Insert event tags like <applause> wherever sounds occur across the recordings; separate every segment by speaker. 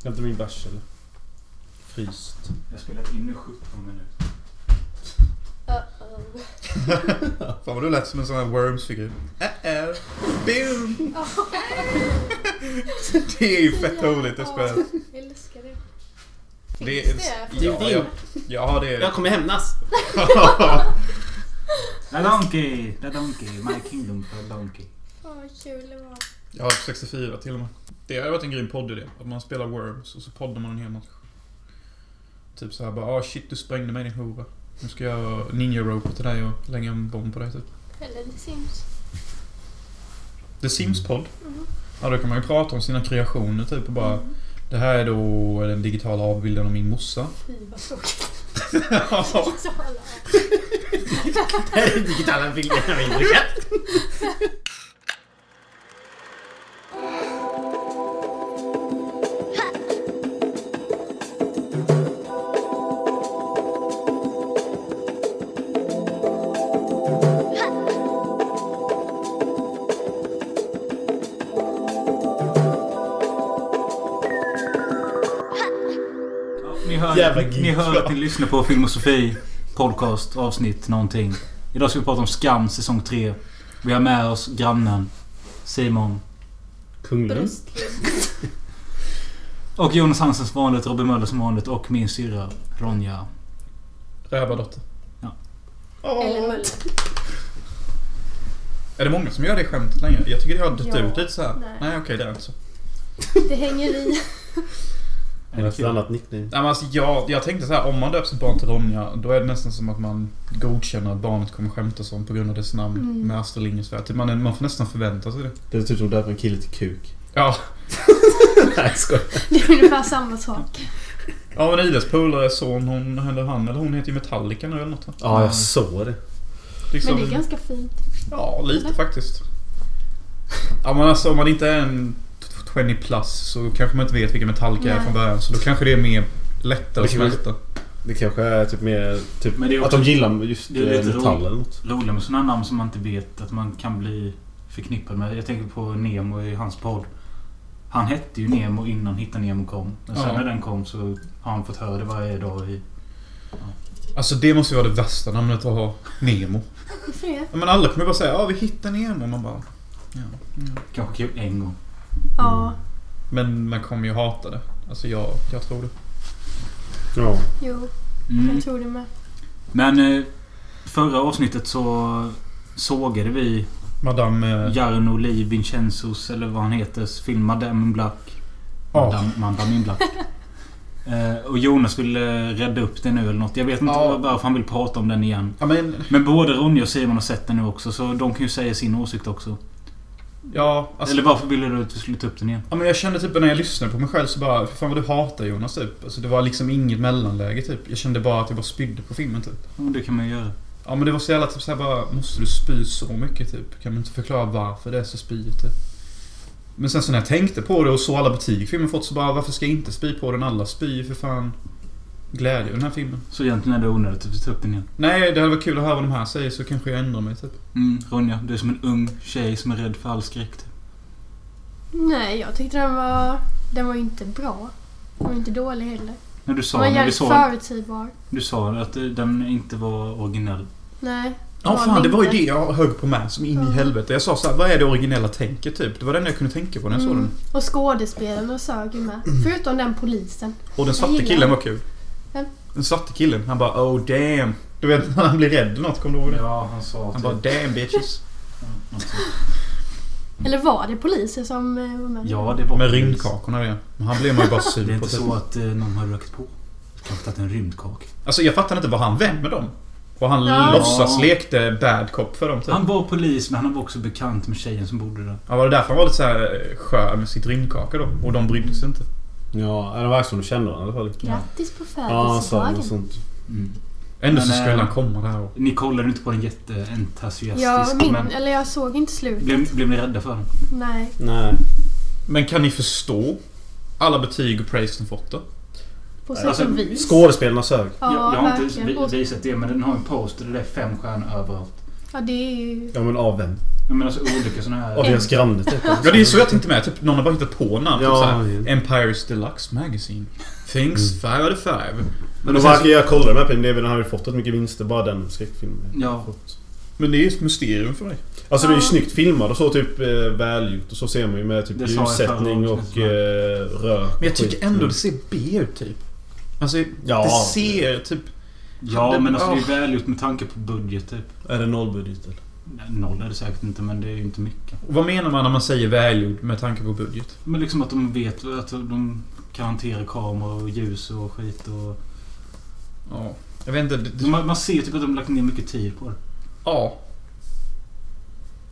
Speaker 1: Ska inte min bärs eller? Fryst.
Speaker 2: Jag spelat in i 17 minuter.
Speaker 3: Uh-oh.
Speaker 4: Fan vad du lät som en sån här Worms-figur. Uh-oh. Boom! det är ju fett roligt det spelet.
Speaker 3: Jag älskar det.
Speaker 4: Det är... Ja, ja, ja, det
Speaker 5: Jag
Speaker 4: är...
Speaker 5: kommer hämnas.
Speaker 2: The Donkey! The Donkey! My Kingdom for Donkey.
Speaker 3: Åh, vad kul det var.
Speaker 4: Jag har 64 till och med. Det har varit en grym poddidé. Att man spelar Worms och så poddar man en hel match. Typ så här bara, ah shit du sprängde mig din hora. Nu ska jag ninja rope till dig och lägga en bomb på dig typ.
Speaker 3: Eller The Sims.
Speaker 4: The Sims-podd. Ja, då kan man ju prata om sina kreationer typ och bara
Speaker 3: Mm.
Speaker 4: Det här är då den digitala avbilden av min morsa.
Speaker 3: Fy vad tråkigt.
Speaker 4: <laughs> Ja.
Speaker 3: Så alla-
Speaker 5: <laughs> Digitala bilder av min brorsa.
Speaker 2: Ja, Ni hör,
Speaker 5: Jävla
Speaker 2: ni
Speaker 5: geek,
Speaker 2: hör
Speaker 5: ja.
Speaker 2: att ni lyssnar på Filmosofi podcast avsnitt någonting. Idag ska vi prata om Skam säsong 3. Vi har med oss grannen Simon
Speaker 4: Mm.
Speaker 1: Kungen.
Speaker 3: Bröstled.
Speaker 2: och Jonas Hansen som vanligt, Robin Möller som vanligt och min syrra Ronja.
Speaker 4: Rövardotter.
Speaker 2: Ja.
Speaker 3: Eller Mölle.
Speaker 4: Är det många som gör det skämtet längre? Jag tycker det har dött
Speaker 3: Ja.
Speaker 4: ut lite såhär.
Speaker 3: Nej.
Speaker 4: Nej, okej det är inte så.
Speaker 3: Det hänger i.
Speaker 2: Är
Speaker 1: Det
Speaker 2: det
Speaker 1: är ett
Speaker 2: kul?
Speaker 1: annat nickname.
Speaker 4: Nej, men alltså, jag, jag tänkte så här, om man döper sitt barn till Ronja, då är det nästan som att man godkänner att barnet kommer skämtas om på grund av dess namn
Speaker 3: Mm.
Speaker 4: med Astrid Lindgrens Värld. Typ, man, man får nästan förvänta sig det.
Speaker 1: Det är typ som döper en kille till kuk.
Speaker 4: Ja,
Speaker 1: Nej, skoj.
Speaker 3: Det är ungefär samma sak.
Speaker 4: ja men Idas polares son, hon, eller han eller hon heter ju Metallica nu eller något. va?
Speaker 1: Ja, jag såg det.
Speaker 3: Men
Speaker 4: Liksom,
Speaker 3: det är ganska fint.
Speaker 4: Ja, lite
Speaker 3: Eller?
Speaker 4: faktiskt. Ja men alltså om man inte är en 20 plus så kanske man inte vet vilka Metallica är
Speaker 3: Nej.
Speaker 4: från början. Så då kanske det är mer lättare att
Speaker 1: Det kan-
Speaker 4: smälta.
Speaker 1: Det kanske är typ mer... Typ,
Speaker 2: Men det är
Speaker 1: att
Speaker 2: också
Speaker 1: de gillar just
Speaker 2: det är lite
Speaker 1: eh, metall
Speaker 2: roligt.
Speaker 1: eller något.
Speaker 2: Roligt med sådana namn som man inte vet att man kan bli förknippad med. Jag tänker på Nemo i hans podd. Han hette ju Nemo innan Hitta Nemo kom. Men sen
Speaker 4: Ja.
Speaker 2: när den kom så har han fått höra det varje dag i...
Speaker 4: Alltså det måste ju vara det värsta namnet att ha. Nemo.
Speaker 3: Varför det?
Speaker 4: Ja, men alla kommer bara säga ja vi hittar Nemo. Man bara... Ja, ja.
Speaker 2: Kanske kul en gång.
Speaker 3: Ja,
Speaker 4: Men man kommer ju hata det. Alltså jag, jag tror det.
Speaker 1: Ja.
Speaker 3: jo.
Speaker 2: Mm.
Speaker 3: Jag tror det med.
Speaker 2: Men eh, förra avsnittet så sågade vi
Speaker 4: Madame... eh,
Speaker 2: Jarno Li Vincenzos, eller vad han heter, film Madame in Black.
Speaker 4: Ja.
Speaker 2: Madame, Madame in
Speaker 4: <laughs>
Speaker 2: Black. Eh, och Jonas vill eh, rädda upp det nu eller något. Jag vet inte
Speaker 4: Ja.
Speaker 2: varför han vill prata om den igen.
Speaker 4: Ja men...
Speaker 2: Men både Ronja och Simon har sett den nu också, så de kan ju säga sin åsikt också.
Speaker 4: Ja, alltså...
Speaker 2: Eller varför ville du att vi skulle ta upp den igen?
Speaker 4: Ja, men jag kände typ när jag lyssnade på mig själv så bara, för fan vad du hatar Jonas typ. Alltså det var liksom inget mellanläge typ. Jag kände bara att jag bara spydde på filmen typ.
Speaker 2: Ja, det kan man ju göra.
Speaker 4: Ja men det var så jävla typ såhär bara, måste du spy så mycket typ? Kan du inte förklara varför det är så spyigt typ? Men sen så när jag tänkte på det och så alla betyg filmen fått så bara, varför ska jag inte spy på den? Alla spyr ju för fan glädje i den här filmen.
Speaker 2: Så egentligen är det onödigt att vi tar upp den igen.
Speaker 4: Nej, det hade varit kul att höra vad de här säger så kanske jag ändrar mig typ.
Speaker 2: Mm, Ronja, du är som en ung tjej som är rädd för all skräck.
Speaker 3: Nej, jag tyckte den var... Den var ju inte bra. Den var inte dålig heller.
Speaker 2: När du
Speaker 3: Den
Speaker 2: sa,
Speaker 3: var
Speaker 2: när vi
Speaker 3: jävligt
Speaker 2: såg,
Speaker 3: förutsägbar.
Speaker 2: du sa att eh, den inte var originell.
Speaker 3: Nej.
Speaker 4: Ja
Speaker 3: Ja,
Speaker 4: fan, det var ju
Speaker 3: inte.
Speaker 4: det jag högg på med som in
Speaker 3: Ja.
Speaker 4: i helvete. Jag sa såhär, vad är det originella tänket typ? Det var det enda jag kunde tänka på när jag
Speaker 2: Mm.
Speaker 4: såg den.
Speaker 3: Mm. Och skådespelarna sög ju med. Förutom den polisen.
Speaker 4: Och den
Speaker 3: Jag
Speaker 4: svarte
Speaker 3: gillar
Speaker 4: killen
Speaker 3: den.
Speaker 4: var kul.
Speaker 3: Vem?
Speaker 4: Den svarte killen, han bara oh damn. Du vet <laughs> när han blir rädd eller något, kommer du ihåg det?
Speaker 2: Ja, han sa
Speaker 4: Han bara damn bitches.
Speaker 3: Eller var det poliser som eh, var med?
Speaker 2: Ja, det var
Speaker 4: Med
Speaker 2: precis.
Speaker 4: rymdkakorna det. Men han blev man ju bara
Speaker 2: Det är
Speaker 4: sur på.
Speaker 2: inte
Speaker 4: Typ.
Speaker 2: så att eh, någon har rökt på. Kanske tagit en rymdkaka.
Speaker 4: Alltså jag fattar inte, var han vän med dem? Och han
Speaker 3: Ja.
Speaker 4: låtsas lekte bad cop för dem typ.
Speaker 2: Han var polis, men han var också bekant med tjejen som bodde där.
Speaker 4: Ja, var det därför han var lite såhär eh, skör med sitt rymdkaka då? Och de brydde sig inte.
Speaker 1: Ja, det verkar som du kände honom i alla fall.
Speaker 3: Grattis på
Speaker 1: Ja, han sa något
Speaker 3: födelsedagen.
Speaker 1: sånt.
Speaker 2: Mm.
Speaker 4: Ändå så
Speaker 2: Men,
Speaker 4: skulle
Speaker 2: eh,
Speaker 4: han komma där och...
Speaker 2: Ni kollade inte på den jätteentusiastiskt,
Speaker 3: Ja, min,
Speaker 2: men
Speaker 3: eller jag såg inte slutet.
Speaker 2: blev, blev ni rädda för den?
Speaker 3: Nej.
Speaker 1: Nej.
Speaker 4: Men kan ni förstå alla betyg och praise den fått då?
Speaker 3: På sätt
Speaker 2: Alltså,
Speaker 3: och vis.
Speaker 1: Skådespelarna sög.
Speaker 3: Ja,
Speaker 2: jag, jag har inte
Speaker 3: verkligen.
Speaker 2: vi-
Speaker 3: Och-
Speaker 2: visat det, men den har en poster där det är fem stjärnor överallt.
Speaker 3: Ja, det är ju...
Speaker 1: Ja, men av vem?
Speaker 2: Jag menar så olika såna här...
Speaker 1: Och det är skramligt.
Speaker 4: Ja, det är så jag tänkte med. Typ, någon har bara hittat på namn. Typ
Speaker 1: typ. Ja,
Speaker 4: såhär,
Speaker 1: ja.
Speaker 4: Empires Deluxe Magazine. Things 5 out of 5.
Speaker 1: Men de verkar jag kolla den här filmen. Det är väl den har ju fått rätt mycket vinster. Bara den skräckfilmen.
Speaker 2: Ja.
Speaker 1: Fått.
Speaker 4: Men det är ju ett mysterium för mig.
Speaker 1: Alltså det är ju
Speaker 3: Ja.
Speaker 1: snyggt filmad och så typ eh, välgjort och så ser man ju med typ
Speaker 2: Det sa jag
Speaker 1: ljussättning
Speaker 2: förra
Speaker 1: och
Speaker 2: avsnittet.
Speaker 1: eh, rök.
Speaker 4: Men jag
Speaker 1: och skit.
Speaker 4: tycker ändå det ser B ut typ. Alltså,
Speaker 1: Ja.
Speaker 4: det ser typ...
Speaker 2: Ja,
Speaker 4: Det-
Speaker 2: men alltså det
Speaker 4: åh.
Speaker 2: är välgjort med tanke på budget typ.
Speaker 1: Är det nollbudget eller?
Speaker 2: Noll är det säkert inte, men det är ju inte mycket.
Speaker 4: Vad menar man när man säger välgjord med tanke på budget?
Speaker 2: Men liksom att de vet att de kan hantera kameror och ljus och skit och...
Speaker 4: Ja. Jag vet inte. Det, det,
Speaker 2: Man, man ser typ att de lagt ner mycket tid på det.
Speaker 4: Ja.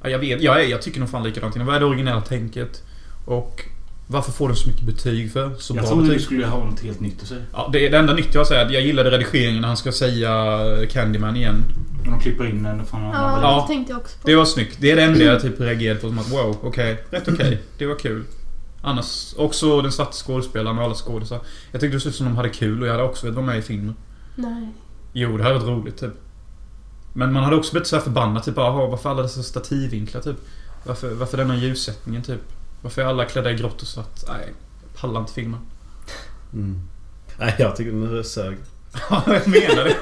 Speaker 4: ja jag vet. Jag, är- jag tycker nog fan likadant. Vad är det originella tänket? Och varför får den så mycket betyg för? Så
Speaker 2: Jag
Speaker 4: bra
Speaker 2: trodde
Speaker 4: betyg.
Speaker 2: du skulle ha något helt nytt att säga.
Speaker 4: Ja, det, det enda nytt jag säger är att jag gillade redigeringen när han ska säga Candyman igen.
Speaker 2: När de klipper in den och fan...
Speaker 3: Ja,
Speaker 2: Ja.
Speaker 3: det tänkte jag också på.
Speaker 4: Det var snyggt. Det är det enda jag typ reagerade på. Som att wow, okej. Rätt okej. Det var kul. Annars, också den svarta skådespelaren och alla skådisar. Jag tyckte det såg ut som de hade kul och jag hade också velat vara med i filmen.
Speaker 3: Nej.
Speaker 4: Jo, det hade varit roligt typ. Men man hade också blivit så här förbannad typ. Jaha, varför alla dessa stativvinklar typ? Varför, varför denna ljussättningen typ? Varför är alla klädda i grått och svart? Nej, jag pallar inte filmen. <laughs>
Speaker 1: Mm. Nej, jag tycker den är sög.
Speaker 4: Ja, jag menar det.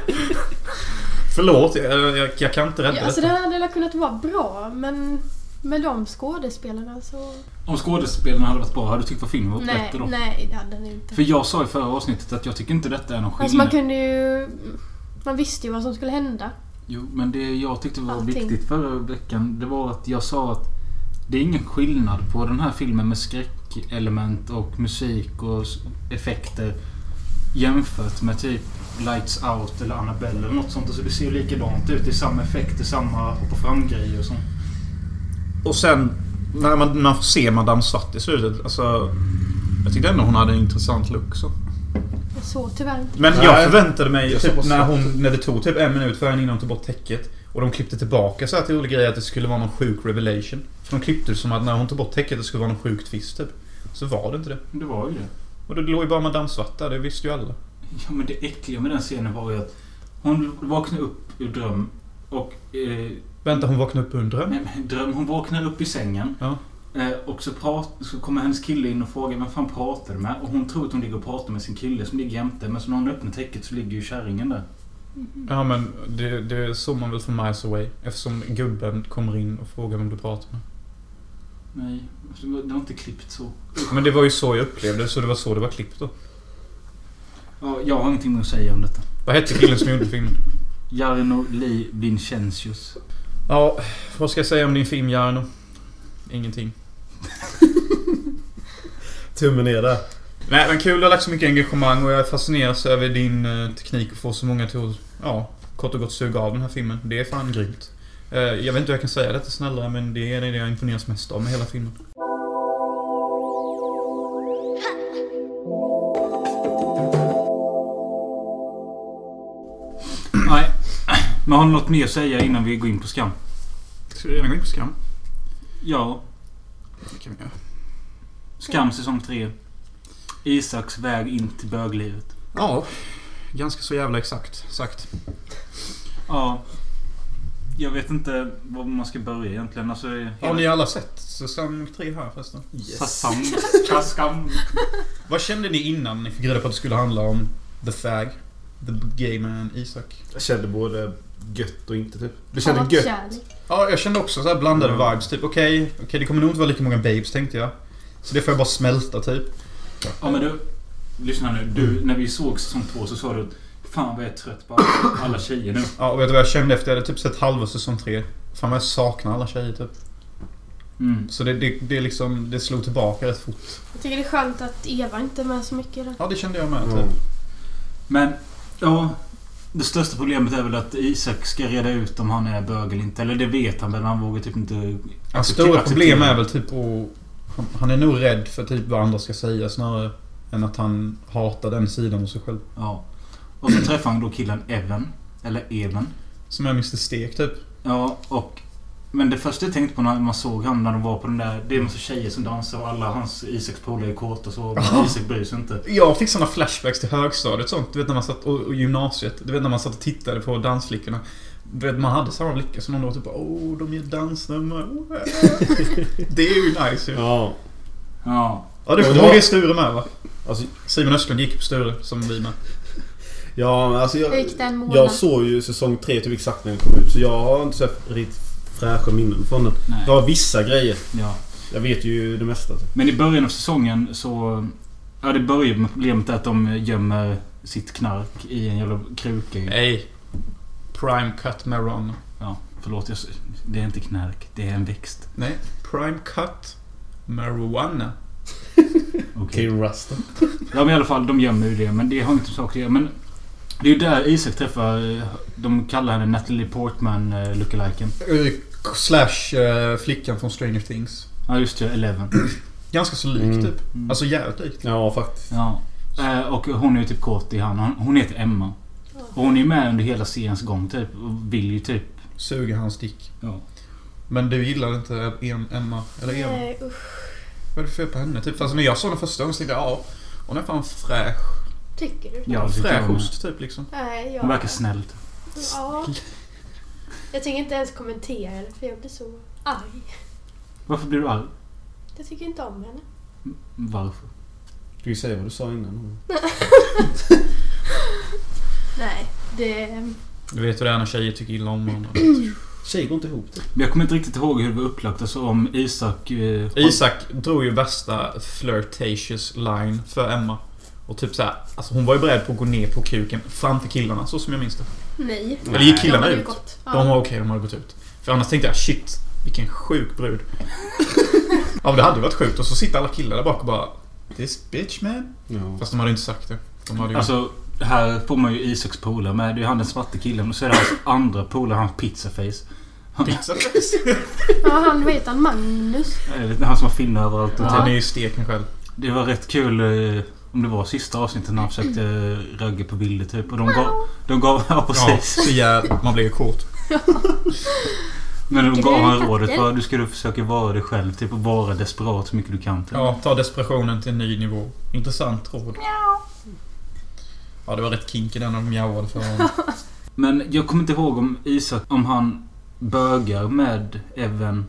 Speaker 4: Förlåt, jag, jag, jag kan inte rädda
Speaker 3: Ja,
Speaker 4: detta.
Speaker 3: alltså den hade väl kunnat vara bra, men med de skådespelarna så...
Speaker 2: Om skådespelarna hade varit bra, hade du tyckt att filmen var
Speaker 3: Nej,
Speaker 2: bättre då?
Speaker 3: nej det hade den inte.
Speaker 2: För jag sa i förra avsnittet att jag tycker inte detta är någon skillnad.
Speaker 3: Alltså man kunde ju... Man visste ju vad som skulle hända.
Speaker 2: Jo, men det jag tyckte var
Speaker 3: Allting.
Speaker 2: viktigt förra veckan, det var att jag sa att det är ingen skillnad på den här filmen med skräckelement och musik och s- effekter jämfört med typ Lights Out eller Annabelle eller något sånt. Alltså det ser ju likadant ut. Det är samma effekter, samma hoppa fram-grejer och sånt.
Speaker 4: Och sen när man, när man får se Madame Svart i slutet. Alltså, jag tyckte ändå hon hade en intressant look. Så.
Speaker 3: Jag såg tyvärr inte.
Speaker 4: Men
Speaker 1: Nej.
Speaker 4: jag förväntade mig
Speaker 1: Jag såg
Speaker 4: typ,
Speaker 1: bara
Speaker 4: när,
Speaker 1: svart.
Speaker 4: hon, när det tog typ en minut för henne innan hon tog bort täcket. Och de klippte tillbaka så här till olika grejer att det skulle vara någon sjuk revelation. För de klippte det som att när hon tog bort täcket det skulle vara någon sjuk twist typ. Så var det inte det.
Speaker 2: Det var ju det.
Speaker 4: Och det låg ju bara Madame Svart där, det visste ju alla.
Speaker 2: Ja, men det äckliga med den scenen var ju att hon vaknade upp ur dröm och... Eh,
Speaker 4: Vänta, hon vaknade upp ur en dröm?
Speaker 2: nej, men dröm. Hon vaknar upp i sängen.
Speaker 4: Ja.
Speaker 2: Eh, och så, prat, så kommer hennes kille in och frågar vem fan pratar du med? Och hon tror att hon ligger och pratar med sin kille som ligger jämte. Men så när hon öppnar täcket så ligger ju kärringen där.
Speaker 4: Ja men det, det såg man väl från Miles Away. Eftersom gubben kommer in och frågar vem du pratar med.
Speaker 2: Nej, alltså, det var- det var inte klippt så.
Speaker 4: Men det var ju så jag upplevde det, så det var så det var klippt då.
Speaker 2: Ja, jag har ingenting mer att säga om detta.
Speaker 4: Vad hette killen som gjorde filmen?
Speaker 2: Jarno Li Vincentius.
Speaker 4: Ja, vad ska jag säga om din film Jarno? Ingenting.
Speaker 1: Tummen ner där.
Speaker 4: Nej men kul, du har lagt så mycket engagemang och jag fascineras över din eh, teknik att få så många till att, ja, kort och gott suga av den här filmen. Det är fan grymt. Eh, jag vet inte hur jag kan säga detta snällare men det är det jag imponeras mest av med hela filmen.
Speaker 2: Nej, men har ni något mer att säga innan vi går in på skam?
Speaker 4: Ska vi redan gå in på Skam?
Speaker 2: Ja,
Speaker 4: Det kan vi göra.
Speaker 2: Skam säsong 3. Isaks väg in till böglivet.
Speaker 4: Ja, ganska så jävla exakt sagt.
Speaker 2: Ja. Jag vet inte var man ska börja egentligen. Alltså,
Speaker 4: Har ni alla sett säsong 3 här förresten?
Speaker 2: Sasam. Skam.
Speaker 4: Vad kände ni innan ni fick reda på att det skulle handla om The Fag? The Gay Man Isak?
Speaker 1: Jag kände både gött och inte typ. Det
Speaker 3: Fan,
Speaker 1: kändes
Speaker 3: vad
Speaker 1: gött.
Speaker 3: kärlek.
Speaker 4: Ja, jag kände också så här blandade
Speaker 1: Mm.
Speaker 4: vibes. Typ okej, okej det kommer nog inte vara lika många babes tänkte jag. Så det får jag bara smälta typ.
Speaker 2: Ja men du. Lyssna nu. Du, när vi såg säsong 2 så sa du att Fan vad jag är trött på alla- alla tjejer nu.
Speaker 4: Ja, och vet du vad jag kände efter? Jag hade typ sett halva säsong tre. Fan vad jag saknar alla tjejer typ.
Speaker 2: Mm.
Speaker 4: Så det, det, det, är liksom, det slog tillbaka rätt fort.
Speaker 3: Jag tycker det är skönt att Eva inte är med så mycket i den.
Speaker 4: Ja, det kände jag med typ.
Speaker 1: Mm.
Speaker 2: Men, ja. Det största problemet är väl att Isak ska reda ut om han är bög eller inte. Eller det vet han men han vågar typ inte...
Speaker 4: Hans
Speaker 2: acceptera-
Speaker 4: stora problem
Speaker 2: acceptera.
Speaker 4: är väl typ att... Han, han är nog rädd för typ vad andra ska säga snarare än att han hatar den sidan hos sig själv.
Speaker 2: Ja. Och så träffar han då killen Evan. Eller Even.
Speaker 4: Som är Mr Stek typ.
Speaker 2: Ja, och Men det första jag tänkte på när man såg han när de var på den där... Det är en massa tjejer som dansar och alla hans Isaks polare är kåta och så. Men Isak bryr sig inte.
Speaker 4: Jag fick såna flashbacks till högstadiet och sånt. Du vet när man satt och, och gymnasiet. Du vet när man satt och tittade på dansflickorna. Du vet, man hade samma blickar som någon då. Typ åh, de gör dansnummer. <laughs> det är ju nice ju. Ja,
Speaker 1: Ja.
Speaker 2: Ja.
Speaker 4: du
Speaker 1: Och
Speaker 4: kommer
Speaker 1: då-
Speaker 4: ihåg det Sture med va?
Speaker 1: Alltså,
Speaker 4: Simon Östlund gick på Sture som vi med.
Speaker 1: ja, men alltså
Speaker 3: Jag
Speaker 1: jag,
Speaker 3: gick den månaden.
Speaker 1: jag såg ju säsong tre typ exakt när den kom ut. Så jag har inte så här riktigt fräscha minnen från den.
Speaker 2: Nej.
Speaker 1: Det var vissa grejer.
Speaker 2: Ja.
Speaker 1: Jag vet ju det mesta. Typ.
Speaker 2: Men i början av säsongen så... Ja, det börjar med problemet att de gömmer sitt knark i en jävla kruka. ju.
Speaker 4: Nej. Prime Cut med Ron.
Speaker 2: Ja, förlåt. Jag, s- det är inte knark. Det är en växt.
Speaker 4: Nej. Prime Cut Marijuana.
Speaker 2: Okej.
Speaker 1: King Rasta.
Speaker 2: Ja, men i alla fall. De gömmer ju det. Men det har inte med saker att göra. Men det är ju där Isak träffar... eh, De kallar henne Natalie Portman eh, lookaliken.
Speaker 4: Eh, Slash eh, flickan från Stranger Things.
Speaker 2: Ja, just det. Eleven.
Speaker 4: Ganska så lik
Speaker 1: Mm.
Speaker 4: typ.
Speaker 2: Mm.
Speaker 4: Alltså jävligt likt.
Speaker 1: Ja, faktiskt.
Speaker 2: Ja. Eh, Och hon är ju typ kåt i han. Hon- Hon heter Emma. Och hon är med under hela seriens gång typ. Och vill ju typ...
Speaker 4: Suger hans dick.
Speaker 2: Ja.
Speaker 4: Men du gillar inte em- Emma? Eller Eva?
Speaker 3: Nej, Eh, usch.
Speaker 4: Vad är det för fel på henne? Typ, alltså, när jag såg den första gången så tänkte jag ja, hon är fan fräsch.
Speaker 3: Tycker du?
Speaker 2: Ja, det tycker jag
Speaker 4: fräsch
Speaker 2: med.
Speaker 4: ost typ liksom.
Speaker 3: Nej, jag...
Speaker 2: Hon verkar snäll. typ.
Speaker 3: Ja. Jag tänker inte ens kommentera det för jag blir så arg.
Speaker 2: Varför blir du arg?
Speaker 3: Jag tycker inte om henne.
Speaker 2: Varför?
Speaker 1: Du kan ju säga vad du sa innan.
Speaker 3: Nej, det...
Speaker 4: Du vet hur det är när tjejer tycker illa om <clears throat> varandra.
Speaker 1: Tjejer går inte ihop. Typ.
Speaker 2: Men jag kommer inte riktigt ihåg hur det var upplagt. Alltså om Isak... Eh,
Speaker 4: Isak drog ju värsta flirtatious line för Emma. Och typ såhär, alltså hon var ju beredd på att gå ner på kuken framför killarna, så som jag minns det.
Speaker 3: Nej.
Speaker 4: Eller gick killarna
Speaker 3: De hade
Speaker 4: ut?
Speaker 3: gått.
Speaker 4: De
Speaker 3: Ja.
Speaker 4: var okej, de hade gått ut. För annars tänkte jag shit, vilken
Speaker 3: <laughs>
Speaker 4: sjuk brud. ja men det hade ju varit sjukt. Och så sitter alla killar där bak och bara This bitch man.
Speaker 1: Ja.
Speaker 4: Fast de hade ju inte sagt det. De hade ju...
Speaker 2: Alltså, här får man ju Isaks polare med. Det är ju han den svarte killen. Och så är det
Speaker 4: <clears throat>
Speaker 2: hans andra polare, hans pizzaface. Han,
Speaker 4: Pizza
Speaker 3: ja, han vet han Magnus.
Speaker 2: jag vet inte, han som har finnar överallt. Och
Speaker 4: Han är
Speaker 2: typ.
Speaker 4: ju steken själv.
Speaker 2: Det var rätt kul eh, om det var sista avsnittet när han försökte eh, ragga på bilder typ. Och de gav... De gav <laughs> ja,
Speaker 4: Ja,
Speaker 2: precis.
Speaker 4: så jävla... Man blir ju kort.
Speaker 2: Men de
Speaker 3: Tycker
Speaker 2: gav
Speaker 3: du
Speaker 2: han
Speaker 3: katter?
Speaker 2: rådet bara, du ska du försöka vara dig själv. Typ och vara desperat så mycket du kan. Typ.
Speaker 4: Ja, ta desperationen till en ny nivå. Intressant råd. Ja, det var rätt kinky den när de mjauade för honom.
Speaker 2: Men jag kommer inte ihåg om Isak, om han bögar med Evan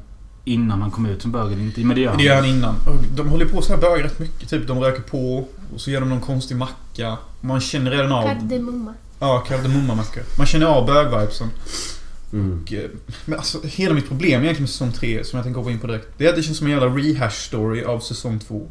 Speaker 2: innan han kom ut som bög eller inte. Men det gör han.
Speaker 4: Det gör han innan. Och De håller på så här bögar rätt mycket. Typ de röker på och så gör de någon konstig macka. Man känner redan av...
Speaker 3: Kardemumma.
Speaker 4: Ja, kardemummamackor. Man känner av bögvibesen.
Speaker 1: Mm.
Speaker 4: Och, eh, Men alltså, hela mitt problem egentligen med säsong 3, som jag tänker hoppa in på direkt, det är att det känns som en jävla rehash-story av säsong 2.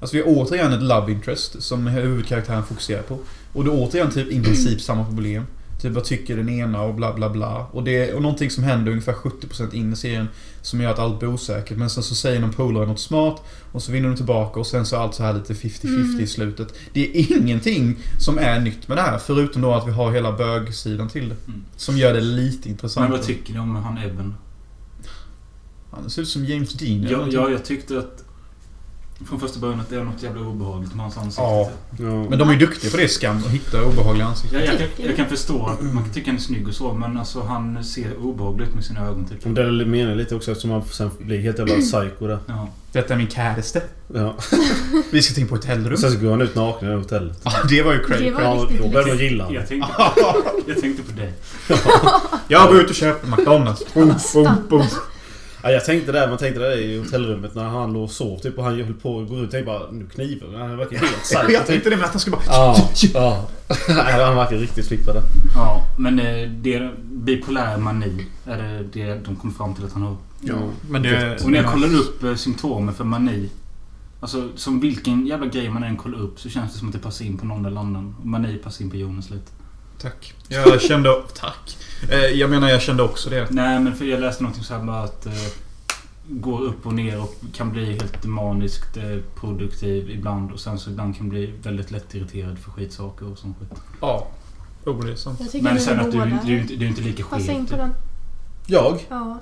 Speaker 4: Alltså vi har återigen ett love interest som huvudkaraktären fokuserar på. Och det är återigen typ i princip samma problem. Typ vad tycker den ena och bla bla bla. Och det och någonting som händer ungefär 70% in i serien som gör att allt blir osäkert. Men sen så säger någon polare något smart och så vinner de tillbaka och sen så är allt så här lite 50-50 i
Speaker 3: Mm.
Speaker 4: slutet. Det är ingenting som är nytt med det här förutom då att vi har hela bögsidan till det.
Speaker 2: Mm.
Speaker 4: Som gör det lite intressant.
Speaker 2: Men vad tycker du om han Evan?
Speaker 4: Han ser ut som James Dean. eller
Speaker 2: Ja,
Speaker 4: någonting.
Speaker 2: ja, jag tyckte att... Från första början att det var något jävla obehagligt med hans ansikte.
Speaker 4: Ja.
Speaker 1: Ja.
Speaker 4: Men de är ju duktiga på det, Skam, att hitta obehagliga ansikten.
Speaker 2: Jag, jag, kan, jag kan förstå att man kan tycka han är snygg och så, men alltså han ser obehagligt ut med sina ögon typ.
Speaker 1: Men Det är menar lite också eftersom man sen blir helt jävla psycho där.
Speaker 2: Ja.
Speaker 4: Detta är min käreste.
Speaker 1: Ja.
Speaker 4: Vi ska in på ett hotellrum.
Speaker 1: Sen <laughs> så går han ut naken i det hotellet.
Speaker 4: Ja, det var ju crazy.
Speaker 3: Det var
Speaker 1: Ja,
Speaker 3: riktigt
Speaker 1: då börjar man gilla honom.
Speaker 2: Jag tänkte, jag tänkte på dig.
Speaker 4: <laughs> Jag var ute och köpte McDonalds. Boom, boom, boom.
Speaker 1: Ja, jag tänkte där, man tänkte där i hotellrummet när han låg och sov typ och han höll på att gå ut. Jag tänkte bara nu kniven. Han verkar helt psycho. typ.
Speaker 4: Jag tänkte det med att han skulle bara...
Speaker 1: Ja, ja. Nej, han verkar riktigt flippad där.
Speaker 2: Ja, men eh, det... Bipolär mani är det, det de kom fram till att han har.
Speaker 1: Ja.
Speaker 4: Men det...
Speaker 2: Och när jag kollade upp eh, symptomen för mani. Alltså som vilken jävla grej man än kollar upp så känns det som att det passar in på någon eller annan. Och Mani passar in på Jonas lite.
Speaker 4: Tack. Jag kände... Tack. Eh, Jag menar, jag kände också det.
Speaker 2: Nej men för jag läste någonting så här bara att eh, Går upp och ner och kan bli helt maniskt eh, produktiv ibland och sen så ibland kan bli väldigt lätt irriterad för skitsaker och sånt skit.
Speaker 4: Ja. Oh, det är sant.
Speaker 3: Jag tycker
Speaker 2: Men
Speaker 3: ni
Speaker 2: sen att du,
Speaker 3: båda
Speaker 2: du, du, är inte- du är inte lika
Speaker 3: Passa in
Speaker 2: skev.
Speaker 3: på
Speaker 2: typ.
Speaker 3: den.
Speaker 1: Jag?
Speaker 3: Ja.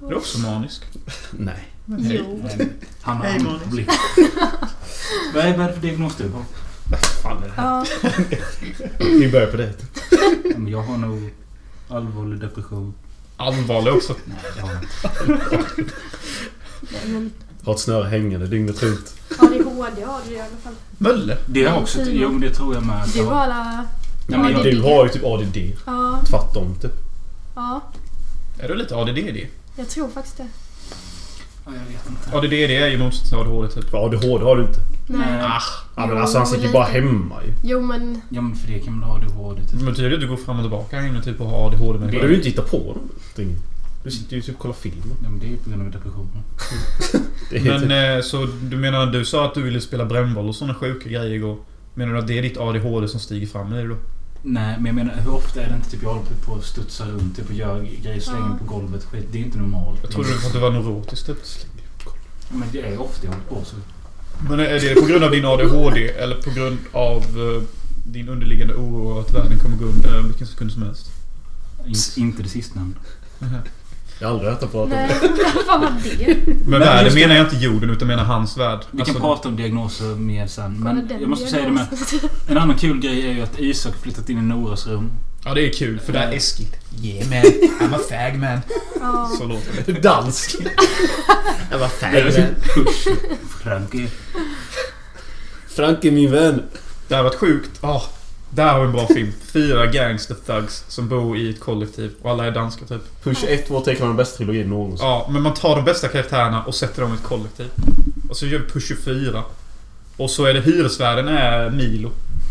Speaker 4: Du är också manisk.
Speaker 1: Nej.
Speaker 3: Jo.
Speaker 2: Nej, men Han har
Speaker 4: Hej,
Speaker 2: andra
Speaker 4: manis.
Speaker 3: <laughs>
Speaker 2: problem. Vad är vad är det för diagnos du har?
Speaker 1: Fan är det här?
Speaker 3: Ja.
Speaker 1: Vi börjar på det.
Speaker 2: Ja, men Jag har nog allvarlig depression.
Speaker 4: allvarlig också.
Speaker 3: Nej, men
Speaker 1: Har ett snöre hängande dygnet runt.
Speaker 3: ADHD har du i alla fall.
Speaker 4: Mölle?
Speaker 2: Det har jag också... Jo, men det tror jag med.
Speaker 3: Det var alla...
Speaker 2: Nej, men jag,
Speaker 1: Du har ju typ ADD.
Speaker 3: Ja,
Speaker 1: Tvärtom typ.
Speaker 3: ja.
Speaker 4: Är du lite ADDD?
Speaker 3: Jag tror faktiskt det.
Speaker 2: ja, jag vet inte.
Speaker 4: ADDD är ju motsatsen till ADHD typ.
Speaker 1: För ADHD har du inte.
Speaker 3: Nej.
Speaker 2: Nej.
Speaker 1: Ja, men
Speaker 3: Jo,
Speaker 1: alltså han sitter ju
Speaker 3: Ah. lite.
Speaker 1: bara hemma ju.
Speaker 3: Jo, men...
Speaker 2: Ja, men för det kan man ha ADHD typ.
Speaker 4: Men betyder det att du går fram och tillbaka här inne typ och har ADHD med
Speaker 1: Du
Speaker 4: dig?
Speaker 1: behöver ju inte hitta på någonting. Du sitter ju typ och kollar film.
Speaker 2: Ja, men det är ju på grund av depressionen.
Speaker 1: Det är typ...
Speaker 4: Men eh, så du menar, du sa att du ville spela brännboll och sådana sjuka grejer igår. Menar du att det är ditt ADHD som stiger fram i dig då?
Speaker 2: Nej, men jag menar hur ofta är det inte typ jag håller på och studsar runt typ, och gör grejer, slänger
Speaker 3: Ja.
Speaker 2: på golvet skit. Det är inte normalt.
Speaker 4: Jag trodde att du var neurotisk typ.
Speaker 2: Men det är ofta jag håller på så.
Speaker 4: Men är det på grund av din ADHD eller på grund av eh, din underliggande oro att världen kommer gå under vilken sekund som helst?
Speaker 2: In, inte det sistnämnda.
Speaker 1: Jag har aldrig hört honom prata om
Speaker 3: Nej, <laughs>
Speaker 1: det.
Speaker 3: vad fan var det?
Speaker 4: Men,
Speaker 2: Men
Speaker 4: världen
Speaker 2: just det-
Speaker 4: menar jag inte jorden utan menar hans värld.
Speaker 2: Vi
Speaker 4: Alltså,
Speaker 2: kan prata om diagnoser mer sen.
Speaker 3: Kolla
Speaker 2: Men
Speaker 3: den
Speaker 2: jag måste säga det med.
Speaker 3: diagnosen. <laughs>
Speaker 2: En annan kul grej är ju att Isak flyttat in i Noras rum.
Speaker 4: Ja det är kul för där är Eskil. Yeah man, I'm a fag man.
Speaker 3: Ja.
Speaker 4: Så låter
Speaker 1: <laughs>
Speaker 4: det.
Speaker 1: Dansk!
Speaker 4: <laughs>
Speaker 1: Jag var färdig.
Speaker 2: Push. Frankie.
Speaker 1: <laughs> Frank är min vän.
Speaker 4: Det har varit sjukt. Ah, där har vi en bra film. Fyra gangster thugs som bor i ett kollektiv och alla är danska typ.
Speaker 1: Push 1, 2, 3 kan vara den bästa trilogin någonsin.
Speaker 4: Ja, men man tar de bästa karaktärerna och sätter dem i ett kollektiv. Och så gör vi Push 24. Och så är det hyresvärden är Milo.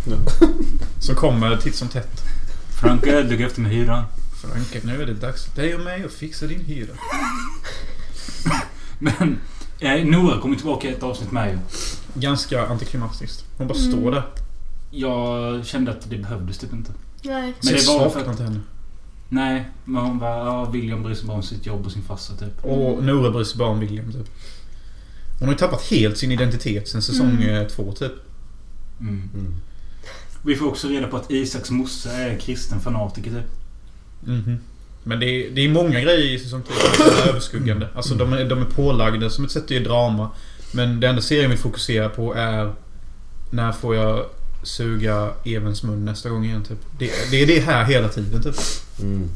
Speaker 1: Ja.
Speaker 4: <laughs> Som kommer titt som tätt.
Speaker 2: Frankie, du går efter med hyran.
Speaker 4: Frank, nu är det dags för dig och mig att fixa din hyra.
Speaker 2: Men eh, Nora kommer tillbaka i ett avsnitt med ju.
Speaker 4: Ganska antiklimatiskt. Hon bara
Speaker 3: Mm.
Speaker 4: står där.
Speaker 2: Jag kände att det behövdes typ inte.
Speaker 3: Nej.
Speaker 2: Men det
Speaker 4: Så jag
Speaker 2: var för
Speaker 4: saknar
Speaker 2: att,
Speaker 4: inte henne.
Speaker 2: Nej, men hon bara ja, William bryr sig bara om sitt jobb och sin farsa typ.
Speaker 4: Och Nora bryr sig bara om William typ. Hon har ju tappat helt sin identitet sen säsong eh, två typ.
Speaker 2: Mm.
Speaker 1: Mm.
Speaker 2: Vi får också reda på att Isaks morsa är kristen fanatiker typ.
Speaker 4: Mhm. Men det är, det är många grejer i säsong 3 som är överskuggande. Alltså de är, de är pålagda som ett sätt att ge drama. Men det enda serien vill fokusera på är När får jag suga Evens mun nästa gång igen typ. Det, det är det här hela tiden typ.
Speaker 1: Mm.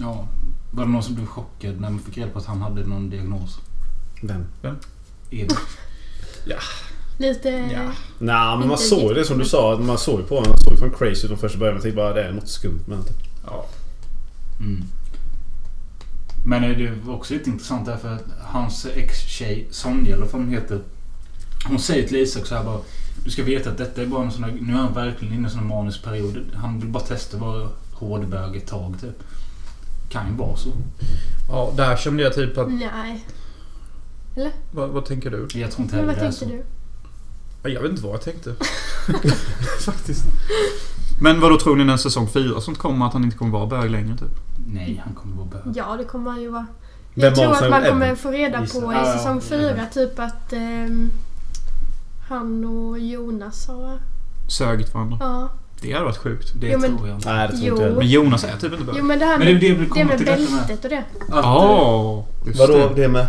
Speaker 2: Ja. Var det någon som blev chockad när man fick reda på att han hade någon diagnos?
Speaker 1: Vem?
Speaker 2: Edvin.
Speaker 3: Lite...
Speaker 4: Ja.
Speaker 1: Nej, men man
Speaker 3: Inte
Speaker 1: såg ju det som du sa. att Man såg ju på honom. Han såg ju fan crazy ut från första början. Man tänkte bara det är något skumt med honom.
Speaker 4: Ja.
Speaker 2: Mm. Men eh, det var också lite intressant därför att hans ex-tjej Sonja, eller vad hon heter. Hon säger till Isak så här bara. Du ska veta att detta är bara en sån här, Nu är han verkligen inne i en sån här manisk period. Han vill bara testa att vara hårdbög ett tag typ. Kan ju vara så.
Speaker 4: ja, där kände jag typ att...
Speaker 3: Nej.
Speaker 4: Vad, vad tänker du?
Speaker 2: Jag tror inte
Speaker 3: Men
Speaker 2: heller
Speaker 3: vad
Speaker 2: det är
Speaker 3: tänkte
Speaker 2: så.
Speaker 3: du?
Speaker 4: Ja, Jag vet inte vad jag tänkte. <laughs> Faktiskt. Men vad då tror ni när säsong 4 som kommer att han inte kommer vara bög längre typ?
Speaker 2: Nej, han kommer vara bög.
Speaker 3: Ja, det kommer han ju vara.
Speaker 1: Vem
Speaker 3: Jag tror
Speaker 1: var
Speaker 3: att
Speaker 1: sen
Speaker 3: man
Speaker 1: Evan?
Speaker 3: kommer få reda
Speaker 1: Gissa.
Speaker 2: Ja,
Speaker 3: på i
Speaker 2: ja,
Speaker 3: säsong
Speaker 2: det är det.
Speaker 3: fyra typ att ehm, han och Jonas har...
Speaker 4: Sögit varandra.
Speaker 3: Ja.
Speaker 4: Det hade varit sjukt.
Speaker 2: Det
Speaker 3: Jo, men-
Speaker 2: tror jag inte.
Speaker 1: Nej, det tror inte
Speaker 3: Jo.
Speaker 1: jag heller.
Speaker 4: Men Jonas är typ inte bög.
Speaker 3: Jo men det här
Speaker 2: Men det är ju
Speaker 3: med,
Speaker 2: det vi
Speaker 3: det
Speaker 2: kommer
Speaker 3: med
Speaker 2: till detta med.
Speaker 3: bältet och det.
Speaker 2: Att,
Speaker 4: Ja, just
Speaker 1: Vadå
Speaker 4: det.
Speaker 1: det med?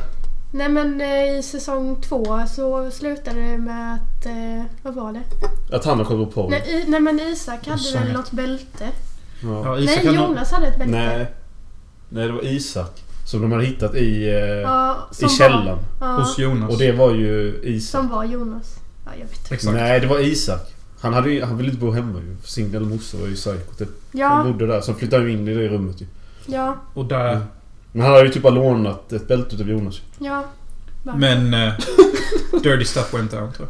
Speaker 3: Nej men eh, i säsong två så slutade det med att... Eh, vad var det?
Speaker 1: Att han har kommit på
Speaker 3: Nej, i, nej men Isak hade
Speaker 4: Isak.
Speaker 3: väl något bälte?
Speaker 1: Ja.
Speaker 4: Ja, Isak
Speaker 3: nej
Speaker 4: har någon-
Speaker 3: Jonas hade ett bälte.
Speaker 1: Nej. Nej, det var Isak. Som de hade hittat i, eh,
Speaker 3: Ja, som
Speaker 1: i källaren.
Speaker 3: Var, ja,
Speaker 4: Hos Jonas.
Speaker 1: Och det var ju Isak.
Speaker 3: som var Jonas. Ja jag vet.
Speaker 4: Exakt.
Speaker 1: Nej, det var Isak. Han, hade, ju- han ville inte bo hemma ju. Sin eller morsa var ju psyko typ. Han
Speaker 3: Ja,
Speaker 1: bodde där. Så han flyttade ju in i det rummet ju.
Speaker 3: ja,
Speaker 4: Och där...
Speaker 1: Men han hade ju typ bara lånat ett bälte utav Jonas ju.
Speaker 3: ja. Va?
Speaker 4: Men... eh, dirty stuff went down tror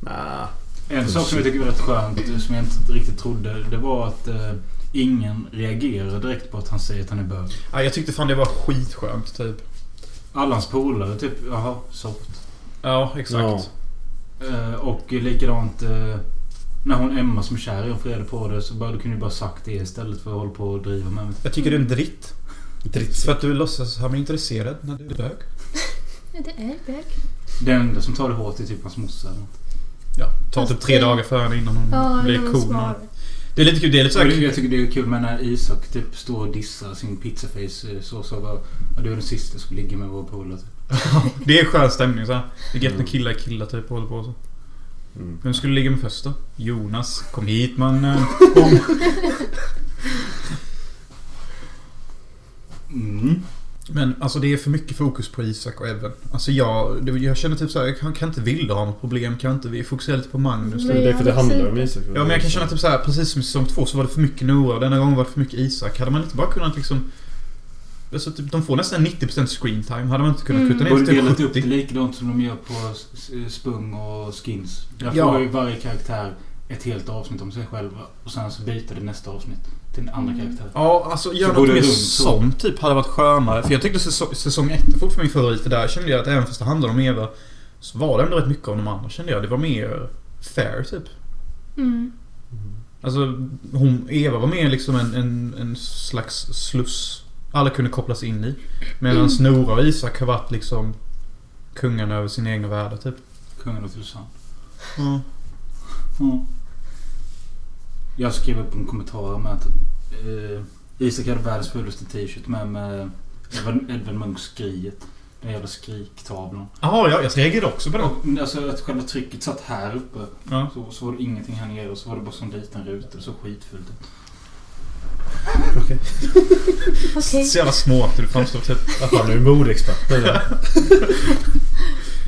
Speaker 4: jag.
Speaker 1: Nah.
Speaker 2: En sak som jag tycker var rätt skönt, som jag inte riktigt trodde, det var att eh, ingen reagerar direkt på att han säger att han är bög.
Speaker 4: Ja, jag tyckte fan det var skitskönt typ.
Speaker 2: Alla hans polare typ, jaha, soft.
Speaker 4: Ja, exakt.
Speaker 1: Ja.
Speaker 2: Eh, och likadant eh, när hon Emma som är kär i och får reda på det så bara, du kunde ju bara sagt det istället för att hålla på och driva med mig.
Speaker 4: Jag tycker det är en dritt.
Speaker 1: Dritt.
Speaker 4: För att du låtsas ha mig intresserad när du är bög.
Speaker 3: Det är bög.
Speaker 4: Mm.
Speaker 2: Det enda som tar det hårt är typ hans morsa. eller något.
Speaker 4: Ja, tar
Speaker 3: Fast
Speaker 4: typ tre
Speaker 3: det-
Speaker 4: dagar för henne innan hon
Speaker 3: Ja,
Speaker 4: blir
Speaker 3: någon
Speaker 4: cool.
Speaker 3: svar.
Speaker 4: Det är lite kul. Det är lite
Speaker 2: Och det-
Speaker 4: såhär...
Speaker 2: Jag tycker det är kul med när Isak typ står och dissar sin pizzaface eh, så så bara, "Ja, du är den sista som skulle ligga med vår polare. typ."
Speaker 4: det är skön stämning såhär. Det är gött när killar är killar typ och håller på så.
Speaker 1: Mm.
Speaker 4: Vem skulle ligga med först då? Jonas. Kom hit mannen.
Speaker 2: Mm.
Speaker 4: Men alltså det är för mycket fokus på Isak och Evan. Alltså jag, det- jag känner typ såhär, kan, kan inte Vilde ha något problem? Kan inte vi fokusera lite på Magnus?
Speaker 3: Nej,
Speaker 1: det är för det
Speaker 3: jag har
Speaker 1: handlar om
Speaker 3: inte-
Speaker 1: Isak.
Speaker 4: Ja men jag kan känna typ såhär, precis som i säsong två så var det för mycket Noah och denna gången var det för mycket Isak. Hade man inte bara kunnat liksom... Alltså typ, de får nästan 90% screen time. Hade man inte kunnat
Speaker 3: Mm.
Speaker 4: kutta ner typ
Speaker 2: Borde
Speaker 4: till
Speaker 2: delat upp det
Speaker 4: 70?
Speaker 2: likadant som de gör på s- s- Spung och Skins. Där
Speaker 4: Ja.
Speaker 2: får ju varje karaktär ett helt avsnitt om sig själva och sen så byter det nästa avsnitt till en andra
Speaker 3: Mm.
Speaker 2: karaktär.
Speaker 4: Ja, alltså
Speaker 2: Så
Speaker 4: gör något
Speaker 2: borde
Speaker 4: mer
Speaker 2: det runt, så.
Speaker 4: sånt typ hade varit skönare. För jag tyckte säsong, säsong ett är fortfarande min favorit. För där kände jag att även fast det handlade om Eva så var det ändå rätt mycket av de andra kände jag. Det var mer fair typ.
Speaker 3: Mm.
Speaker 4: Alltså, hon, Eva var mer liksom en, en, en slags sluss. Alla kunde kopplas in i. Medan
Speaker 3: Mm.
Speaker 4: Nora och Isak har varit liksom kungarna över sina egna världar typ.
Speaker 2: Kungen och Tusan.
Speaker 3: Mm.
Speaker 2: Jag skrev upp en kommentar med att eh, Isak hade världens fulaste t-shirt med, med Edvard, Edvard Munchs skriet. Den jävla skriktavlan.
Speaker 4: Jaha, ja, jag reagerade också på det.
Speaker 2: Och, alltså att själva trycket satt här uppe.
Speaker 4: Ja.
Speaker 2: Så, så var det ingenting här nere och så var det bara som en liten ruta. Det såg skitfult ut.
Speaker 3: Okej.
Speaker 4: Så jävla smart du framstår typ.
Speaker 1: Att han är modeexpert nu.